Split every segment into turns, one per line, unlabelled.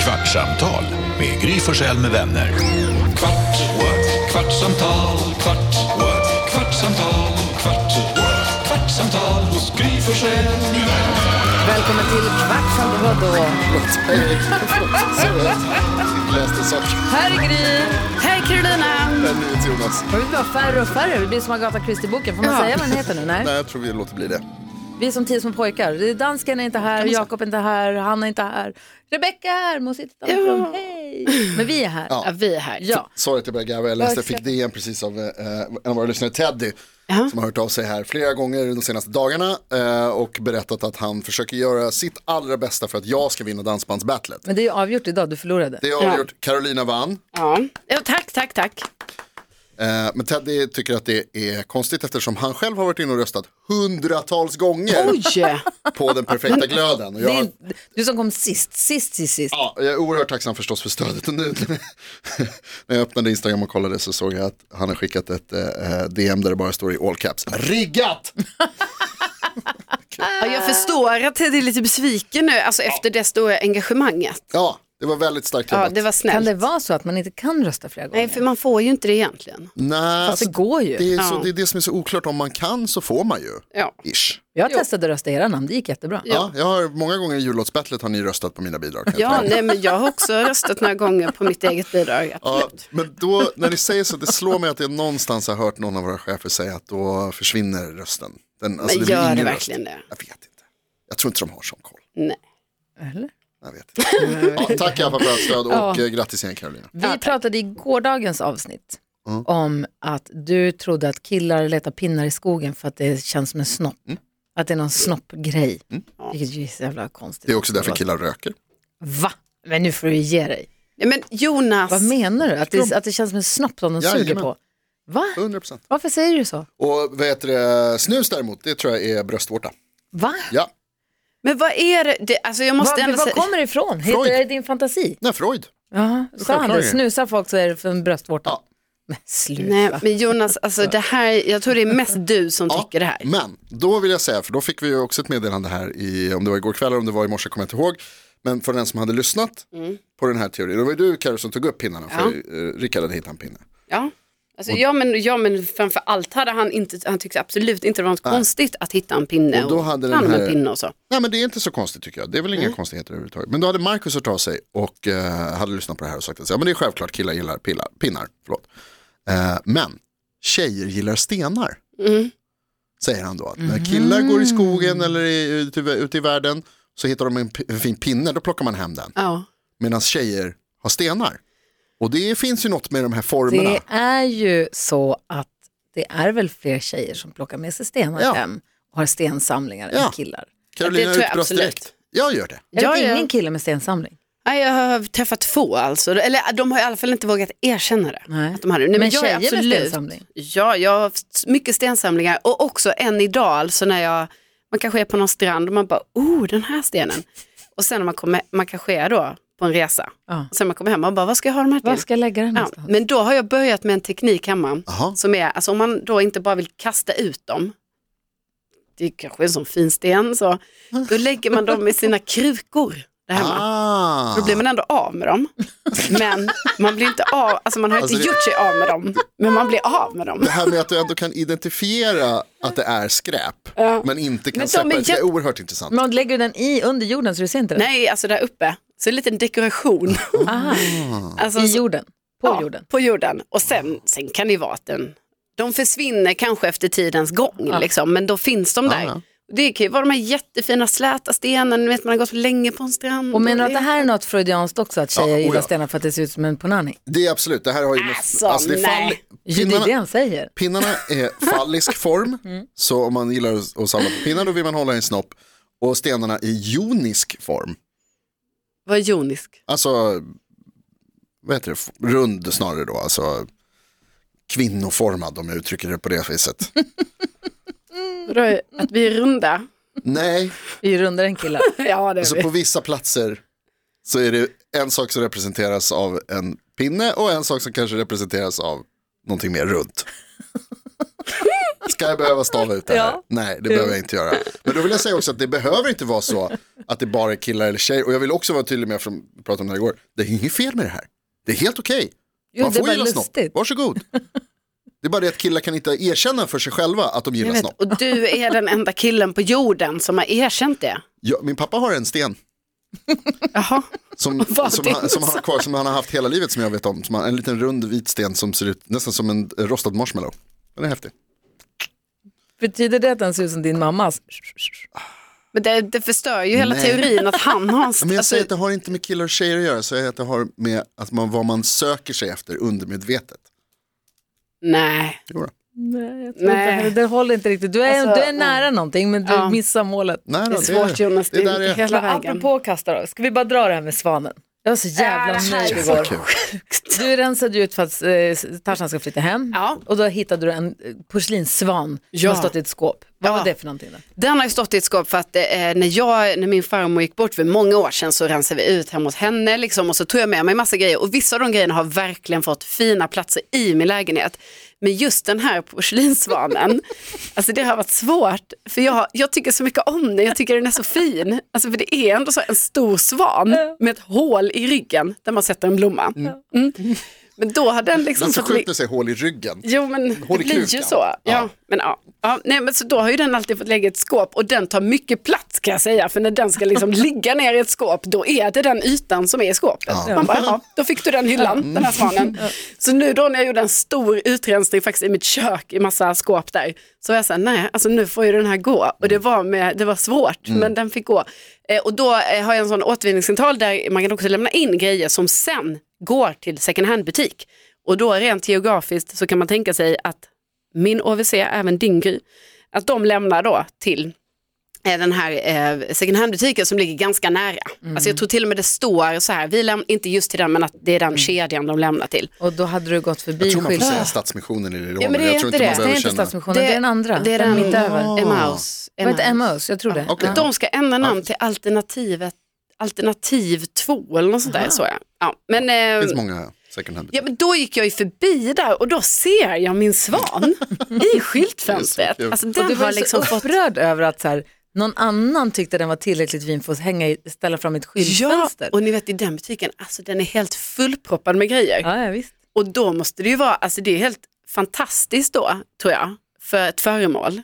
Kvartsamtal med Gry Forssell med vänner. Kvart, what? kvartsamtal, kvart, what? kvartsamtal, kvart, what? kvartsamtal hos Gry Forssell med vänner.
Välkommen till Kvartsamtal. Vadå?
Läste saker.
Här är Gry. Här är Carolina.
Det är nyhets, Jonas.
Och vi blir bara färre och färre. Vi blir som Agatha Christie-boken. Får man säga vad den heter nu? Nej.
Nej, jag tror vi låter bli det.
Vi är som tio små pojkar. Det är Dansken är inte här, Jakob är inte här, Hanna är inte här. Rebecka är här, måste sitta ja. Hej! Men vi är här.
Ja.
Ja, vi är här.
Ja.
Sorry att jag började garva. Jag läste, jag
Varför?
fick DN precis av eh, en av våra lyssnare, Teddy, som har hört av sig här flera gånger de senaste dagarna eh, och berättat att han försöker göra sitt allra bästa för att jag ska vinna dansbandsbattlet.
Men det är ju avgjort idag, du förlorade.
Det har jag gjort. Carolina vann,
Ja. Ja, tack, tack, tack.
eh, men Teddy tycker att det är konstigt eftersom han själv har varit inne och röstat hundratals gånger
Oj!
på den perfekta glöden. Och jag,
Det
har-
är, du som kom sist, sist, sist, sist.
Ja, jag är oerhört tacksam förstås för stödet. Och nu när jag öppnade Instagram och kollade så såg jag att han har skickat ett eh, DM där det bara står i all caps. Riggat!
Ja, jag förstår att Teddy är lite besviken nu, alltså efter det stora engagemanget.
Ja, det var väldigt starkt
Ja,
jobbat.
det var
Kan
snällt.
det vara så att man inte kan rösta flera gånger?
Nej, för man får ju inte det egentligen.
Nej, alltså,
Fast det går ju.
Det är, så,
Ja.
det är det som är så oklart, om man kan så får man ju.
Ja.
Ish.
Jag testade att rösta era namn, det gick jättebra.
Ja. jag har många gånger i jullåtsbattlet har ni röstat på mina bidrag. kan jag
Ja,
tala om.
nej, men jag har också röstat några gånger på mitt eget bidrag.
Ja,
absolut.
men då, när ni säger så, det slår mig att jag någonstans har hört någon av våra chefer säga att då försvinner rösten. Den, alltså,
Men
blir
gör det
ingen
verkligen det?
Röst. Jag vet inte. Jag tror inte de har sån koll.
Nej.
Eller?
Jag vet inte. Ja, tack i alla fall för ert stöd och eh, grattis igen Carolina.
Vi pratade i gårdagens avsnitt
Mm.
om att du trodde att killar letar pinnar i skogen för att det känns som en snopp.
Mm.
Att det är någon snoppgrej. Vilket ju är så jävla konstigt.
Det är också därför killar röker.
Va? Men nu får du ge dig.
Nej, men Jonas,
Vad menar du? Att
Alltså-
det, att det känns som en snopp som de suger
Jajamän.
på? Va?
100%.
Varför säger du så?
Och vad heter det, snus däremot, det tror jag är bröstvårta.
Va?
Ja,
men vad är det? det alltså, jag måste
Var,
ändå
var
säga...
kommer det ifrån? Heter
Freud.
det din fantasi?
nej Freud.
Ja, sa han
Självklart är
det.
det.
Snusar folk så är det för en bröstvårta.
Ja.
Men sluta.
Nej, men Jonas, alltså, det här, jag tror det är mest du som
Ja,
tycker det här.
Men då vill jag säga, för då fick vi ju också ett meddelande här, i, om det var igår kväll eller om det var i morse, kommer jag inte ihåg. Men för den som hade lyssnat
Mm.
på den här teorin, det var ju du Karo som tog upp pinnarna, för eh, Rickard hade hittat en pinne.
Ja. Alltså, ja, men, ja, men framför allt hade han inte, han tyckte absolut inte det var något konstigt att hitta en pinne
Och då
och
hade
ta
den
hand om
här-
en pinne och så.
Nej men det är inte så konstigt tycker jag, det är väl inga
Mm.
konstigheter överhuvudtaget. Men då hade Marcus hört av sig och eh, hade lyssnat på det här och sagt att ja, men det är självklart killar gillar pillar, pinnar. Förlåt. Eh, men tjejer gillar stenar.
Mm.
Säger han då. Att när
Mm-hmm.
killar går i skogen eller i, ute, i- ute i världen så hittar de en, pi- en fin pinne, då plockar man hem den.
Ja.
Medan tjejer har stenar. Och det finns ju något med de här formerna.
Det är ju så att det är väl fler tjejer som plockar med sig stenar
Ja.
hem och har stensamlingar
Ja.
än killar.
Carolina
det tror jag
utbrast
absolut.
direkt. Jag gör det.
Jag
Ja,
vet
ja.
ingen kille med stensamling.
Nej, jag har träffat få alltså. Eller de har i alla fall inte vågat erkänna det.
Nej.
Att de hade. det. Nej,
Men
men jag är
tjejer med
absolut.
stensamling?
Ja, jag har haft mycket stensamlingar och också än idag alltså när jag, man kanske är på någon strand och man bara, oh den här stenen. Och sen när man kommer, man kanske är då på en resa.
Ja.
Och sen när man kommer hem och bara, vad ska jag ha de här
Var
till?
ska jag lägga den
Ja,
någonstans?
men då har jag börjat med en teknik hemma
Aha.
som är, alltså om man då inte bara vill kasta ut dem, det är kanske en sån fin sten, så, då lägger man dem i sina krukor där hemma.
Ah.
Då blir man ändå av med dem. Men man blir inte av, alltså man har
Alltså, det-
inte gjort sig av med dem, men man blir av med dem.
Det här med att du ändå kan identifiera att det är skräp, men inte kan
Men de
separera,
är
det är
jätte-
oerhört intressant.
Men lägger du den i under jorden så du ser inte den?
Nej, alltså där uppe, så en liten dekoration.
Aha.
Ah.
Alltså,
I
så-
jorden? På
ja,
jorden?
På jorden. Och sen, sen kan det ju vara att den, de försvinner kanske efter tidens gång, liksom, men då finns de där.
ja.
Det kan ju vara de här jättefina släta stenarna, ni vet man har gått länge på en strand.
Och menar du att det här är något freudianskt också, att tjejer
Ja, oja.
gillar stenar för att det ser ut som en punani?
Det är absolut, det här har ju med,
Alltså,
det är
nej.
Det är det
pinnarna,
han säger.
pinnarna är fallisk form,
Mm.
så om man gillar att att samla på pinnar då vill man hålla i en snopp. Och stenarna i jonisk form,
Vad jonisk.
alltså vad heter det, F- rund snarare då, alltså kvinnoformad om jag uttrycker det på det viset.
Vadå, Att vi är runda.
Nej,
Vi är rundare än killar.
Ja, det är
alltså
vi.
på vissa platser så är det en sak som representeras av en pinne och en sak som kanske representeras av någonting mer runt. Ska jag behöva stava ut det här?
Ja.
Nej, det behöver jag inte göra. Men då vill jag säga också att det behöver inte vara så att det bara är killar eller tjejer. Och jag vill också vara tydlig med, från pratade om det här igår, det är inget fel med det här. Det är helt okej.
Jo,
Man
det är
får
bara
gilla snopp,
lustigt.
varsågod. Det är bara det att killar kan inte erkänna för sig själva att de
Jag
gillar
vet,
snopp.
och du är den enda killen på jorden som har erkänt det.
Ja, min pappa har en sten
Jaha,
som,
Vad
som,
det
han,
är
som han har kvar, som han har haft hela livet som jag vet om. Som han, en liten rund vit sten som ser ut nästan som en rostad marshmallow. Den är häftig.
Betyder det att den ser ut som din mammas?
men det, det förstör ju hela
Nej.
teorin att han har en
Men jag
alltså,
säger att det har inte med killar och tjejer att göra, så jag säger att det har med att man, vad man söker sig efter undermedvetet.
Nej,
Jo då.
Nej, jag tror
Nej.
inte, det håller inte riktigt. Du är,
Alltså,
du är nära någonting men du
Ja.
missar målet.
Nej, då,
det är svårt Jonas, det
det där
är inte
är
hela
Men
vägen.
Alltså, apropå kasta då, ska vi bara dra det här med svanen? Jag var så jävla
Äh, det här
nöjd
är
igår.
kul.
Du rensade ju ut för att eh, Tarzan ska flytta hem
Ja.
och då hittade du en eh, porslinssvan som
Ja.
har stått i ett skåp. Vad
Ja.
var det för någonting då?
Den har ju stått i ett skåp för att eh, när, jag, när min farmor gick bort för många år sedan så rensade vi ut hemma hos henne liksom, och så tog jag med mig massa grejer och vissa av de grejerna har verkligen fått fina platser i min lägenhet. Men just den här porslinssvanen, alltså det har varit svårt för jag, jag tycker så mycket om den, jag tycker den är så fin. Alltså för det är ändå så en stor svan med ett hål i ryggen där man sätter en blomma. Mm. Men då har den
Det är
liksom
så
fått
sjukt
ligga-
att säga hål i ryggen.
Jo men
Håll i
det blir ju
klukan.
så. Ja.
Ja.
Men, ja. Ja, nej, men så då har ju den alltid fått lägga i ett skåp och den tar mycket plats kan jag säga. För när den ska liksom ligga ner i ett skåp då är det den ytan som är i skåpet. Man bara, ja, då fick du den hyllan, den här svanen. Så nu då när jag gjorde en stor utrensning faktiskt i mitt kök i massa skåp där. Så var jag såhär, nej alltså nu får ju den här gå. Och det var, med, det var svårt men den fick gå. Eh, och då eh, har jag en sån återvinningscentral där man kan också lämna in grejer som sen går till second hand butik. Och då rent geografiskt så kan man tänka sig att min OVC, även din Gry, att de lämnar då till eh, den här eh, second hand-butiken som ligger ganska nära.
Mm.
Alltså jag tror till och med det står så här, vi lämnar, inte just till den men att det är den
Mm.
kedjan de lämnar till.
Och då hade du gått förbi
Jag tror man får säga
skylten.
Stadsmissionen i Lilleholmen.
Ja, men det är
jag tror
inte
inte
Det är
man
det.
behöver
inte
känna.
Stadsmissionen, det är den andra.
Det är den
mitt över.
Emmaus. Emmaus.
Vad heter Emmaus? Jag tror det.
Ah, Okej.
Ja.
De ska ändra namn till alternativet, alternativ 2 eller något sånt där. Så jag. Ja, men,
Det
eh,
finns många second hand
ja, men då gick jag ju förbi där och då ser jag min svan i skyltfönstret.
Det är så kul.
Alltså,
Och du
den
var
har
ju
liksom
så
fått
upprörd över att så här, någon annan tyckte den var tillräckligt fin för att hänga i, ställa fram i ett skyltfönster.
Ja, och ni vet i den butiken, alltså den är helt fullproppad med grejer.
Ja, ja, visst.
Och då måste det ju vara, alltså det är helt fantastiskt då, tror jag, för ett föremål.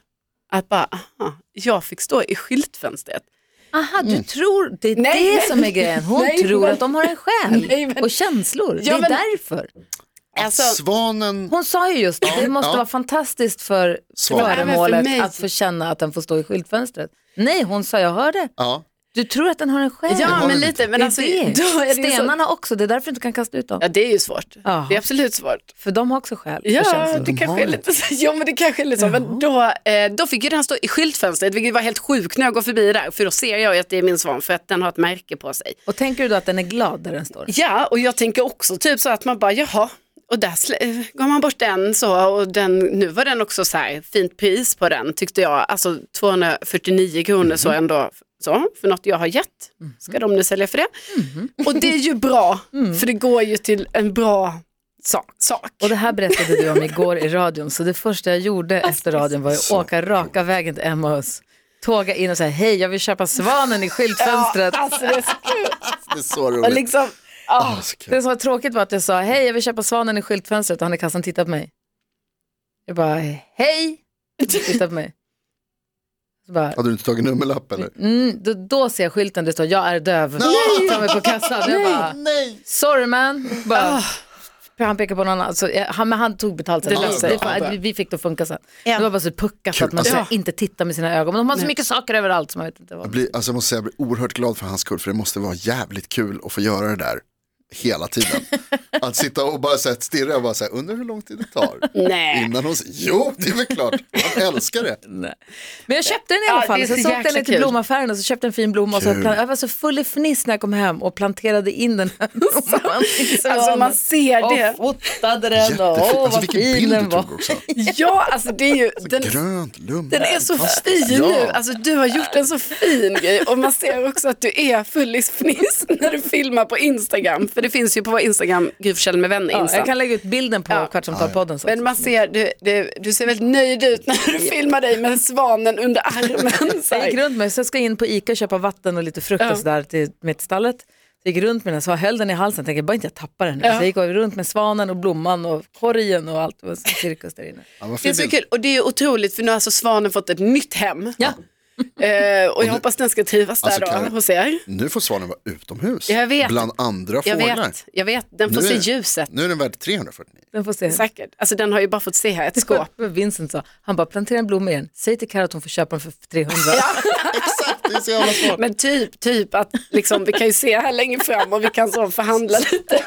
Att bara, aha, jag fick stå i skyltfönstret.
Aha,
Mm.
du tror, det är
Nej,
det
men-
som är grejen. Hon
Nej,
tror
men-
att de har en själ
Nej, men-
och känslor.
Ja,
det är
men-
därför.
Alltså,
Svanen,
Hon sa ju just det, det måste
ja.
vara fantastiskt för
Svar.
Även
föremålet
för mig.
att få känna att den får stå i skyltfönstret. Nej, hon sa jag hörde.
ja.
Du tror att den har en själ.
ja men lite,
men
men
det är
alltså,
det.
då är det ju så,
Stenarna också, det är därför du inte kan kasta ut dem.
ja det är ju svårt.
Ja.
Det är absolut svårt.
För de har också själ och
Ja,
känslor.
det kanske är lite så. Ja, men det kanske är lite så. Men då, eh, då fick ju den stå i skyltfönstret, vilket var helt sjukt när jag går förbi där. För då ser jag ju att det är min svan, för att den har ett märke på sig.
Och tänker du då att den är glad där den står?
Ja, och jag tänker också typ så att man bara, jaha, och där slä- gav man bort den så och den, nu var den också så här, fint pris på den tyckte jag, alltså 249 kronor så
Mm.
ändå, så, för något jag har gett,
Mm-hmm.
ska de nu sälja för det? Och det är ju bra, för det går ju till en bra sa- sak.
Mm. Och det här berättade du om igår i radion, så det första jag gjorde efter radion var att åka raka vägen till Emmaus, tåga in och säga hej, jag vill köpa svanen i skyltfönstret.
Alltså det är så kul.
det är så
Och
roligt.
liksom, ah,
Ah, så kul.
Det som var tråkigt var att jag sa hej, jag vill köpa svanen i skyltfönstret och han i kassan tittade på mig. Jag bara hej, Han tittade på mig. Så bara,
Hade du inte tagit nummerlapp eller?
mm, då, då ser jag skylten, det står jag är döv. Tar mig på kassan. Jag bara,
Ah, Nej!
sorry man. Bara,
Ah.
Han pekar på någon annan, så, jag- han, men han tog betalt sen.
Det löser sig.
var- vi- vi fick det att funka sen.
Ja.
Det var bara så puckat
Kul.
att man
Alltså-
så här inte tittar med sina ögon. Men de har så mycket saker överallt som man vet inte vad.
Jag, blir, alltså jag måste säga, jag blir oerhört glad för hans skull, för det måste vara jävligt kul att få göra det där hela tiden. Att sitta och bara så här, stirra och bara så här, undrar hur lång tid det tar.
nej.
Innan hon säger, jo det är väl klart, han älskar det.
Men jag köpte den i alla
Ja,
fall.
det är
så jag
så
såg
jäkla
den till
kul.
blomaffären och så köpte jag en fin blomma. Och så
Kul.
plan- jag var så full i fniss när jag kom hem och planterade in den här blomman. i svanen.
Alltså man ser det.
Och fotade den och
Jättefint.
åh
Alltså
vad
vilken
fin
bild du
den var.
tog också.
Ja, alltså det är ju, den,
Grönt, lum.
Den är så
Fantastiskt.
fin nu.
Ja.
Alltså, du har gjort en så fin grej och man ser också att du är full i fniss när du filmar på Instagram. För det finns ju på vår Instagram, Gry Forssell med vänner
Ja, jag
Insta.
kan lägga ut bilden på
Ja.
Kvartsamtalpodden. sen.
Men man ser, du, du, du ser väldigt nöjd ut när du filmar dig med svanen under armen. Så
Jag gick
här.
runt med, så ska jag in på Ica och köpa vatten och lite frukt
Ja.
och sådär till mitt stallet. Så jag gick runt med den, så jag höll den i halsen, tänkte bara inte jag tappar den nu.
Ja.
Så jag gick runt med svanen och blomman och korgen och allt, det var en cirkus där inne.
Ja, vad
Det är
fin
så
bild.
kul och det är ju otroligt för nu har alltså svanen fått ett nytt hem.
Ja,
Eh, och jag hoppas den ska trivas
Alltså,
där då
Karin-
hos er.
Nu får svanen vara utomhus.
Jag vet.
Bland andra
Jag
fåglar.
vet, jag vet, den får
Nu
se
är-
ljuset.
Nu är den värd 349.
den får se.
Säkert. Alltså den har ju bara fått se här ett skåp.
Men Vincent sa, han bara plantera en blomma igen, säg till Carro att hon får köpa den för 300.
Exakt, det är så jävla svårt.
Men typ, typ att liksom, vi kan ju se här längre fram och vi kan så förhandla lite.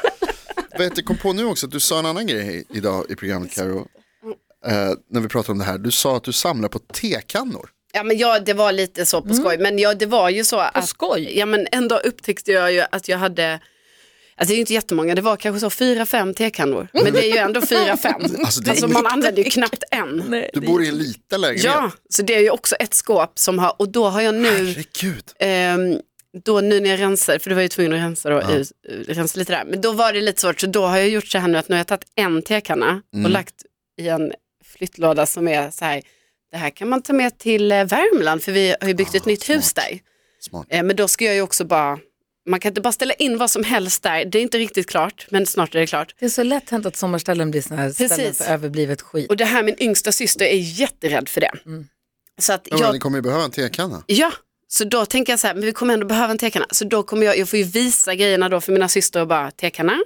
Vet du, kom på nu också att du sa en annan grej idag i programmet Karo. Eh, när vi pratade om det här, du sa att du samlar på tekannor.
Ja men ja, det var lite så på skoj. Men ja, det var ju så att...
skoj.
Ja men en dag upptäckte jag ju att jag hade, alltså det är ju inte jättemånga, det var kanske så fyra, fem tekannor. Men det är ju ändå fyra, fem.
Alltså, det är
Alltså man använder ju knappt en.
Nej,
Du bor i en liten lägenhet.
Ja, så det är ju också ett skåp som har, och då har jag nu...
Herregud.
Ehm, då nu när jag rensar, för du var ju tvungen att rensa, då, ut- rensa lite där, men då var det lite svårt, så då har jag gjort så här nu att nu har jag tagit en tekanna och lagt i en flyttlåda som är så här, det här kan man ta med till eh, Värmland för vi har ju byggt ett nytt hus där.
Smart.
Eh, men då ska jag ju också bara, man kan inte bara ställa in vad som helst där, det är inte riktigt klart, men snart är det klart.
Det är så lätt hänt att sommarställen blir sådana här ställen
Precis.
för överblivet skit.
Och det här, min yngsta syster är jätterädd för det. Så att
Ja, men
jag
Ni kommer ju behöva en tekanna.
Ja, så då tänker jag så här, men vi kommer ändå behöva en tekanna. Så då kommer jag, jag får ju visa grejerna då för mina systrar och bara tekanna.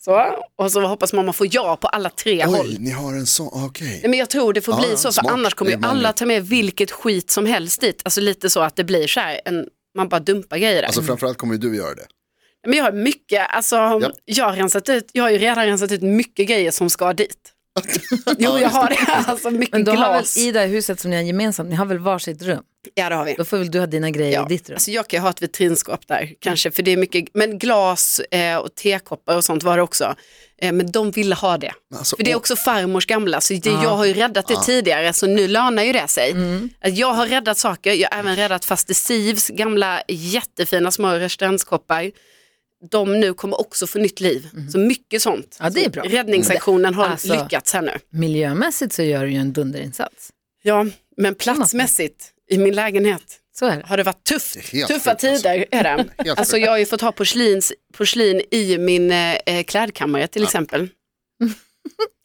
Så, och så hoppas mamma får ja på alla tre håll.
Oj, ni har en sån, ah, okej.
Nej, men jag tror det får
Ja,
bli
ja,
så, för
smart.
annars kommer
Det är
ju alla
vanligt.
ta med vilket skit som helst dit. Alltså lite så att det blir så här, en, man bara dumpar grejer där.
Alltså framförallt kommer ju du göra det.
men jag har mycket, alltså jag har rensat ut, jag har ju redan rensat ut mycket grejer som ska dit. Jo, jag har det, alltså mycket
Men då har väl
glas.
i det här huset som ni har gemensamt, ni har väl varsitt rum?
Ja, det har vi.
Då får väl du ha dina grejer
Ja.
i ditt rum?
Alltså jag kan ju ha ett vitrinskåp där kanske, för det är mycket, men glas eh, och tekoppar och sånt var det också. Eh, men de ville ha det.
Men alltså,
för det är
åh.
också farmors gamla, så det, jag har ju räddat det tidigare, så nu lönar ju det sig.
Mm.
Att jag har räddat saker, jag har även räddat faster Sivs gamla jättefina små rörstranskoppar. De nu kommer också få nytt liv. Så mycket sånt.
Mm. Ja, det är
Så
bra.
Räddningsaktionen har
Alltså-
lyckats här nu.
Miljömässigt så gör du ju en dunderinsats.
Ja, men platsmässigt i min lägenhet
Så är det.
har det varit tufft.
är helt
Tuffa
sjukt, alltså.
tider är det.
Helt
Alltså
sjukt.
jag har ju fått ha porslins, porslin i min eh, eh, klädkammare till exempel.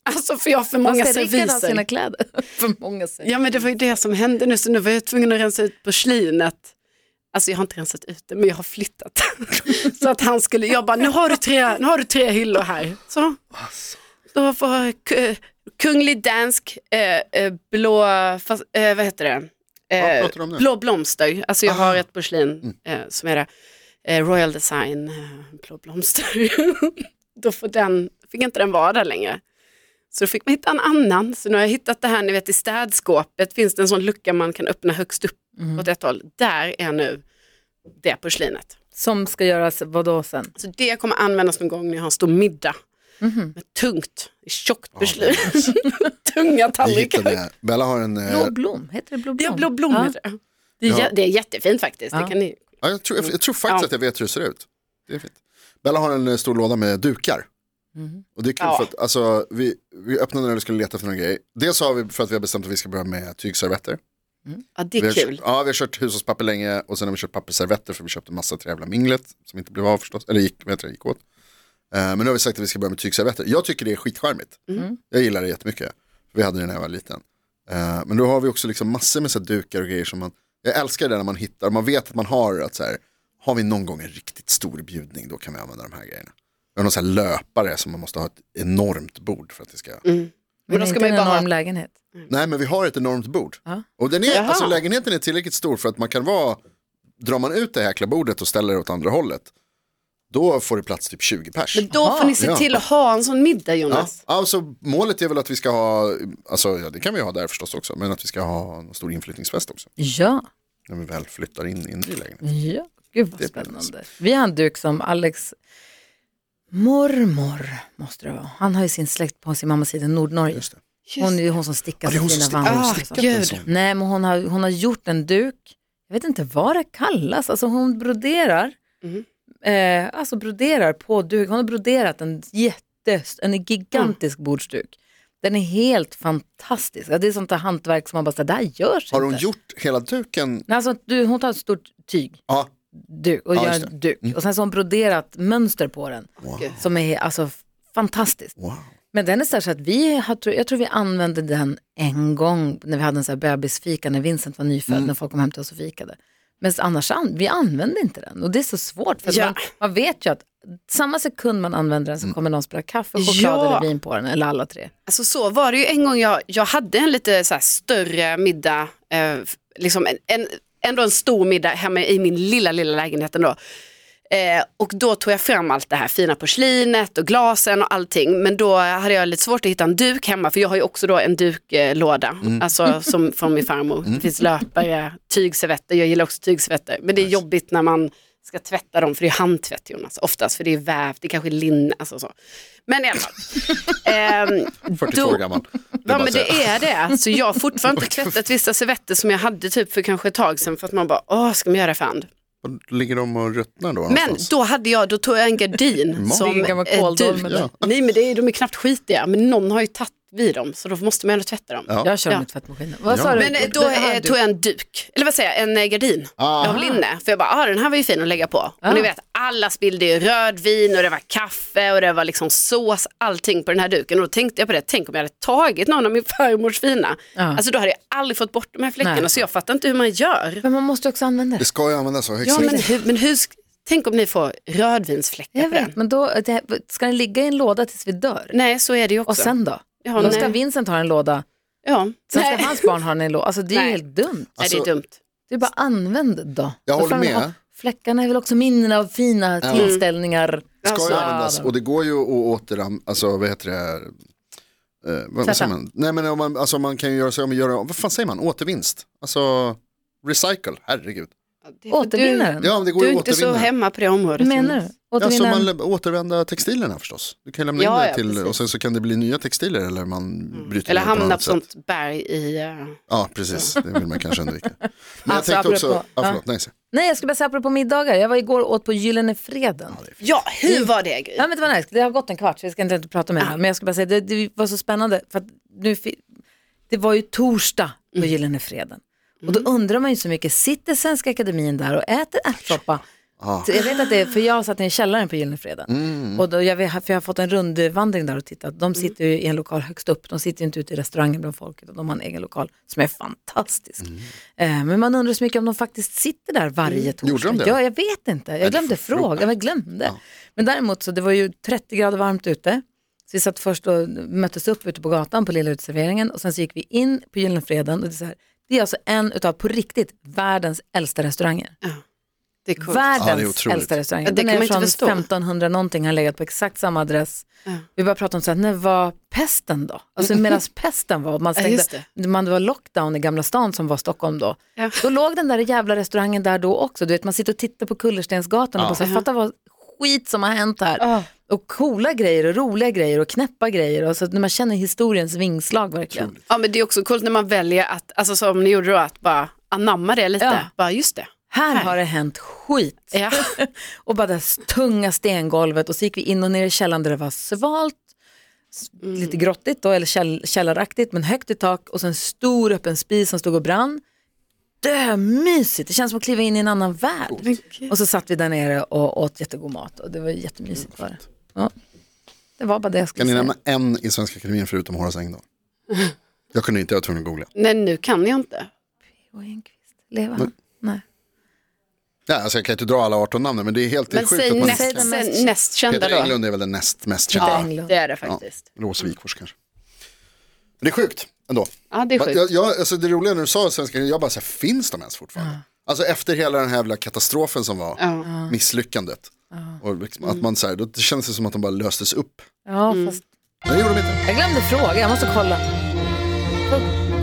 Alltså för jag har för många
Vad ska Rickard ha sina
serviser.
kläder? För många serviser.
Ja men det var ju det som hände nu så nu var jag tvungen att rensa ut porslinet. Alltså jag har inte rensat ut det men jag har flyttat. så att han skulle, jag bara nu har du tre, nu har du tre hyllor här. Så. Då var k- kunglig dansk eh, eh, blå, fast, eh, vad heter det? Eh,
Vad pratar du om Mm. nu?
blå blomster, alltså jag har ett porslin eh, som är det. Eh, Royal Design, eh, blå blomster. då får den, fick inte den vara där längre. Så då fick man hitta en annan. Så nu har jag hittat det här, ni vet i städskåpet finns det en sån lucka man kan öppna högst upp
Mm.
åt ett håll. Där är nu det porslinet.
Som ska göras vadå sen?
Så det kommer användas någon gång när jag har en stor middag. Med tungt, tjockt porslin. Tunga
Vi
tallrikar.
hittade det här. Bella har en, eh,
Blå blom, heter det blå blom?
Det är blå blommor.
Ja.
där. Det, är, jä- det är jättefint faktiskt. Det
Ja.
kan ni...
ja, jag, tror, jag, jag tror faktiskt
Ja.
att jag vet hur det ser ut. Det är fint. Bella har en eh, stor låda med dukar. Och det är kul
Mm. Ja.
för att alltså, vi, vi öppnade när vi skulle leta efter någon grej. Dels har vi för att vi har bestämt att vi ska börja med tygservetter.
Ja, det
vi
är
har,
kul.
Ja, vi har kört hushållspapper länge och sen har vi kört pappersservetter för vi köpte massa till det jävla minglet som inte blev av förstås, eller gick, vad heter det, gick åt. Eh, men nu har vi sagt att vi ska börja med tygservetter. Jag tycker det är skitcharmigt.
Mm.
Jag gillar det jättemycket. För vi hade det när jag var liten. Eh, men då har vi också liksom massor med så här dukar och grejer som man, jag älskar det där när man hittar, man vet att man har att så här, har vi någon gång en riktigt stor bjudning då kan vi använda de här grejerna. Vi har någon så här löpare som man måste ha ett enormt bord för att det ska
Men
då
inte
ska man
en
ju bara ha-
enorm lägenhet.
Nej men vi har ett enormt bord. Och den är,
Jaha.
alltså, lägenheten är tillräckligt stor för att man kan vara, drar man ut det här bordet och ställer det åt andra hållet, då får det plats typ 20 pers.
Men då får ni se
ja.
till att ha en sån middag
Ja,
Jonas.
alltså, målet är väl att vi ska ha, alltså, ja, det kan vi ha där förstås också, men att vi ska ha en stor inflyttningsfest också.
Ja,
När vi väl flyttar in i en ny
Mm.
lägenhet.
ja. Gud vad
Det blir
spännande. Vi har en duk som Alex mormor måste det vara. Han har ju sin släkt på sin mammas sida i Nordnorge.
Just det.
Hon är ju hon som stickar
Ja, det är
till
hon som
sina Liksom.
stickar.
vandrare. och sånt.
Ah, gud.
En sån.
Nej, men hon
Mm.
har, hon har gjort en duk. Jag vet inte vad det kallas. Alltså hon broderar. eh, alltså broderar på duk. Hon har broderat en jätte, en
Mm.
gigantisk bordsduk. Den är helt fantastisk. Det är sånt där hantverk som man bara, så, det här görs
Har hon
inte.
gjort hela duken?
Nej, alltså, du, hon tar ett stort tyg
Ja,
duk, och
Ja,
gör
just det. Mm.
en duk. Och sen så har hon broderat mönster på den
Wow.
som är alltså f- fantastiskt.
wow.
Men den är så, här så att vi har, jag tror vi använde den en gång när vi hade en så här bebisfika när Vincent var nyfödd,
Mm.
när folk kom hem till oss och fikade. Men annars, an- vi använde inte den och det är så svårt för att
Ja. Mm.
man, man vet ju att samma sekund man använder den så kommer någon spela kaffe, choklad
Ja.
eller vin på den, eller alla tre.
Alltså så var det ju en gång jag, jag hade en lite så här större middag, eh, f- liksom en, en, ändå en stor middag hemma i min lilla, lilla lägenhet ändå. Eh, och då tog jag fram allt det här fina porslinet och glasen och allting. Men då hade jag lite svårt att hitta en duk hemma för jag har ju också då en duklåda. Alltså som från min farmor. Det finns löpare, tygservetter. Jag gillar också tygservetter. Men det är jobbigt när man ska tvätta dem för det är handtvätt Jonas. Oftast för det är vävt, det kanske är linne. Alltså så. Men i alla fall. Ehm,
42
då-
år gammal. Det
Ja
är bara
men
så här. ah,
det är det. Så jag har fortfarande inte tvättat vissa servetter som jag hade typ för kanske ett tag sedan för att man bara, åh ska man göra det för hand?
Och Ligger de och ruttnar då?
Men
någonstans?
då hade jag, då tog jag en gardin
Mat.
som
Det kan vara
eh,
kåldolmen
duk.
där.
Nej men det är, de är knappt skitiga, men någon har ju tagit vid dem så då måste man ändå tvätta dem.
Ja.
Jag kör
Ja.
med tvättmaskinen. Vad sa
Ja.
du?
Men eh, då
Det här
eh,
du-
tog jag en duk, eller vad säger jag, en eh, gardin
Ah.
av linne. För jag bara, ah, den här var ju fin att lägga på.
Ah.
Och ni vet, alla spillde ju rödvin och det var kaffe och det var liksom sås, allting på den här duken. Och då tänkte jag på det, tänk om jag hade tagit någon av min farmors fina.
Ja.
Alltså då hade jag aldrig fått bort de här fläckarna,
Nej.
så jag fattar inte hur man gör.
Men man måste ju också använda
Det
det.
ska ju användas så.
Ja,
exakt.
men hur, men hur, sk- tänk om ni får rödvinsfläckar
Jag
på den.
vet, men då, eh, det, ska den ligga i en låda tills vi dör?
Nej, så är det ju också.
Och sen då?
Ja,
då ska
nej.
Vincent ha en låda,
ja.
sen ska
Nej.
hans barn ha en låda. Alltså det är ju
Nej.
helt dumt.
Nej, det
Alltså-
är dumt.
Det är bara använd då.
Jag
Vad
håller
fan,
med.
ha- Fläckarna är väl också minnen av fina tillställningar.
ska ju
Alltså,
användas och det går ju att återan, alltså vad heter det, eh, vad, vad säger man? Nej men om man, alltså, man kan ju göra sig om och göra om, vad fan säger man, återvinst? Alltså recycle, herregud.
det är för
Återvinna den.
Ja men det går
Du, du
ju
är
att
inte så
återvinna.
hemma på det området.
Vad menar
Jonas.
du?
Ja, så
Återvinna
man
en-
lä- återvända textilerna förstås. Du kan lämna in
Ja,
det
ja,
till,
precis. Mm.
och sen så kan det bli nya textiler eller man bryter
Eller
ner på
hamna
något
på
sätt.
sånt berg i... eh,
Ja precis, det vill man kanske undvika. Men jag
Alltså,
tänkte också,
apropå-
ja, förlåt, nej, se.
Nej, jag skulle bara säga apropå middagar. Jag var igår och åt på Gyllene Freden. Ja,
Ja, hur var det Gry?
men det var nice. Det har gått en kvart så vi ska inte, inte prata mer. Men jag skulle bara säga, det, det var så spännande. För att nu, fi- det var ju torsdag på
Mm.
Gyllene Freden. Och då undrar man ju så mycket, sitter Svenska Akademin där och äter ärtsoppa?
Ah.
Så jag vet att det är, för jag satt i en källare på Gyllene Freden.
Mm.
Och då, jag, vet, för jag har fått en rundvandring där och tittat. De sitter ju i en lokal högst upp, de sitter ju inte ute i restaurangen bland folk, utan de har en egen lokal som är fantastisk.
Mm.
Eh, men man undrar så mycket om de faktiskt sitter där varje torsdag.
Gjorde de det?
Ja, jag vet inte. Jag glömde fråga, jag glömde. Men däremot så, det var ju 30 grader varmt ute. Så vi satt först och möttes upp ute på gatan på lilla uteserveringen och sen så gick vi in på Gyllene Freden och det är så här, det är alltså en utav på riktigt världens äldsta restauranger.
Det är coolt.
Ja, det är
Världens
otroligt.
äldsta restaurang.
Ja, det
Den
kan man
är
inte
från
förstå.
1500 någonting, har legat på exakt samma adress.
Ja. Mm.
Vi bara pratade om så här, när var pesten då? Alltså medan pesten var, man
Ja,
stängde,
just
man, det var lockdown i Gamla stan som var Stockholm då.
Ja.
Då låg den där jävla restaurangen där då också. Du vet, man sitter och tittar på Kullerstensgatan och bara så här, fatta vad skit som har hänt här.
Ja.
Och coola grejer och roliga grejer och knäppa grejer. Och så att när man känner historiens vingslag verkligen.
Ja, men det är också coolt när man väljer att, alltså som ni gjorde då, att bara anamma det lite.
Ja.
Bara just det.
Här har det hänt skit.
Ja.
och bara det här tunga stengolvet och så gick vi in och ner i källaren där det var svalt, s-
Mm.
lite grottigt då, eller käll, källaraktigt men högt i tak och sen stor öppen spis som stod och brann. Dömysigt, det känns som att kliva in i en annan värld. Och så satt vi där nere och åt jättegod mat och det var jättemysigt. Var det. Ja. det var bara det jag
Mm, Kan ni
skulle säga.
nämna en i Svenska Akademien förutom Horace Engdahl? Jag kunde inte, jag var tvungen att googla.
Nej, nu kan jag inte.
Och Enquist, lever
Mm.
han? Nej.
Ja, alltså, jag kan inte dra alla 18 namnen men det är helt det är
Men
sjukt
säg
att man...
näst,
Säg den mest-
säg näst kända
Peter
då.
Englund är väl den näst mest
Peter
kända.
Englund.
Det är det faktiskt. Mm.
Lås Wikfors kanske. Men det är sjukt ändå.
Ja, det är
Men
sjukt.
Jag, jag, alltså det roliga när du sa svenska, jag bara så här, finns de ens fortfarande? Alltså efter hela den här jävla katastrofen som var, misslyckandet. Och liksom,
Mm.
att man så här, då känns det som att de bara löstes upp.
Ja,
Mm.
fast
Men det gjorde de inte.
jag glömde fråga, jag måste kolla.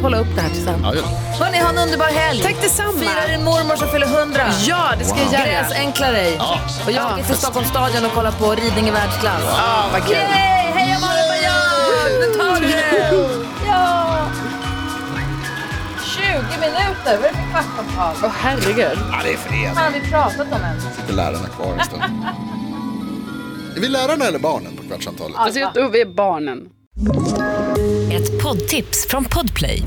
Kolla upp det här tillsammans.
Ja, ja.
Hörni, ha en underbar helg.
Tack detsamma.
Fira din mormor som fyller 100.
Ja, det ska
Wow.
jag göra.
Gräsänkla dig. Och jag åker till Stockholmsstadion och kollar på ridning i världsklass.
Ja, vad kul.
Yay! Heja Malin Baryard! Nu tar vi det! Ja! 20 minuter! skratta över kvartsamtal.
Åh herregud.
Ja, det är fredag.
har vi pratat om än.
Sitter lärarna kvar en stund. Är vi lärarna eller barnen på kvartsamtalet?
Alltså jag tror vi är barnen.
Ett poddtips från Podplay.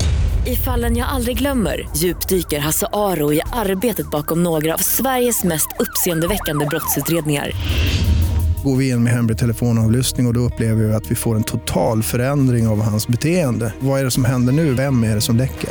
I fallen jag aldrig glömmer djupdyker Hasse Aro i arbetet bakom några av Sveriges mest uppseendeväckande brottsutredningar.
går vi in med hemlig telefonavlyssning och, och då upplever vi att vi får en total förändring av hans beteende. Vad är det som händer nu? Vem är det som läcker?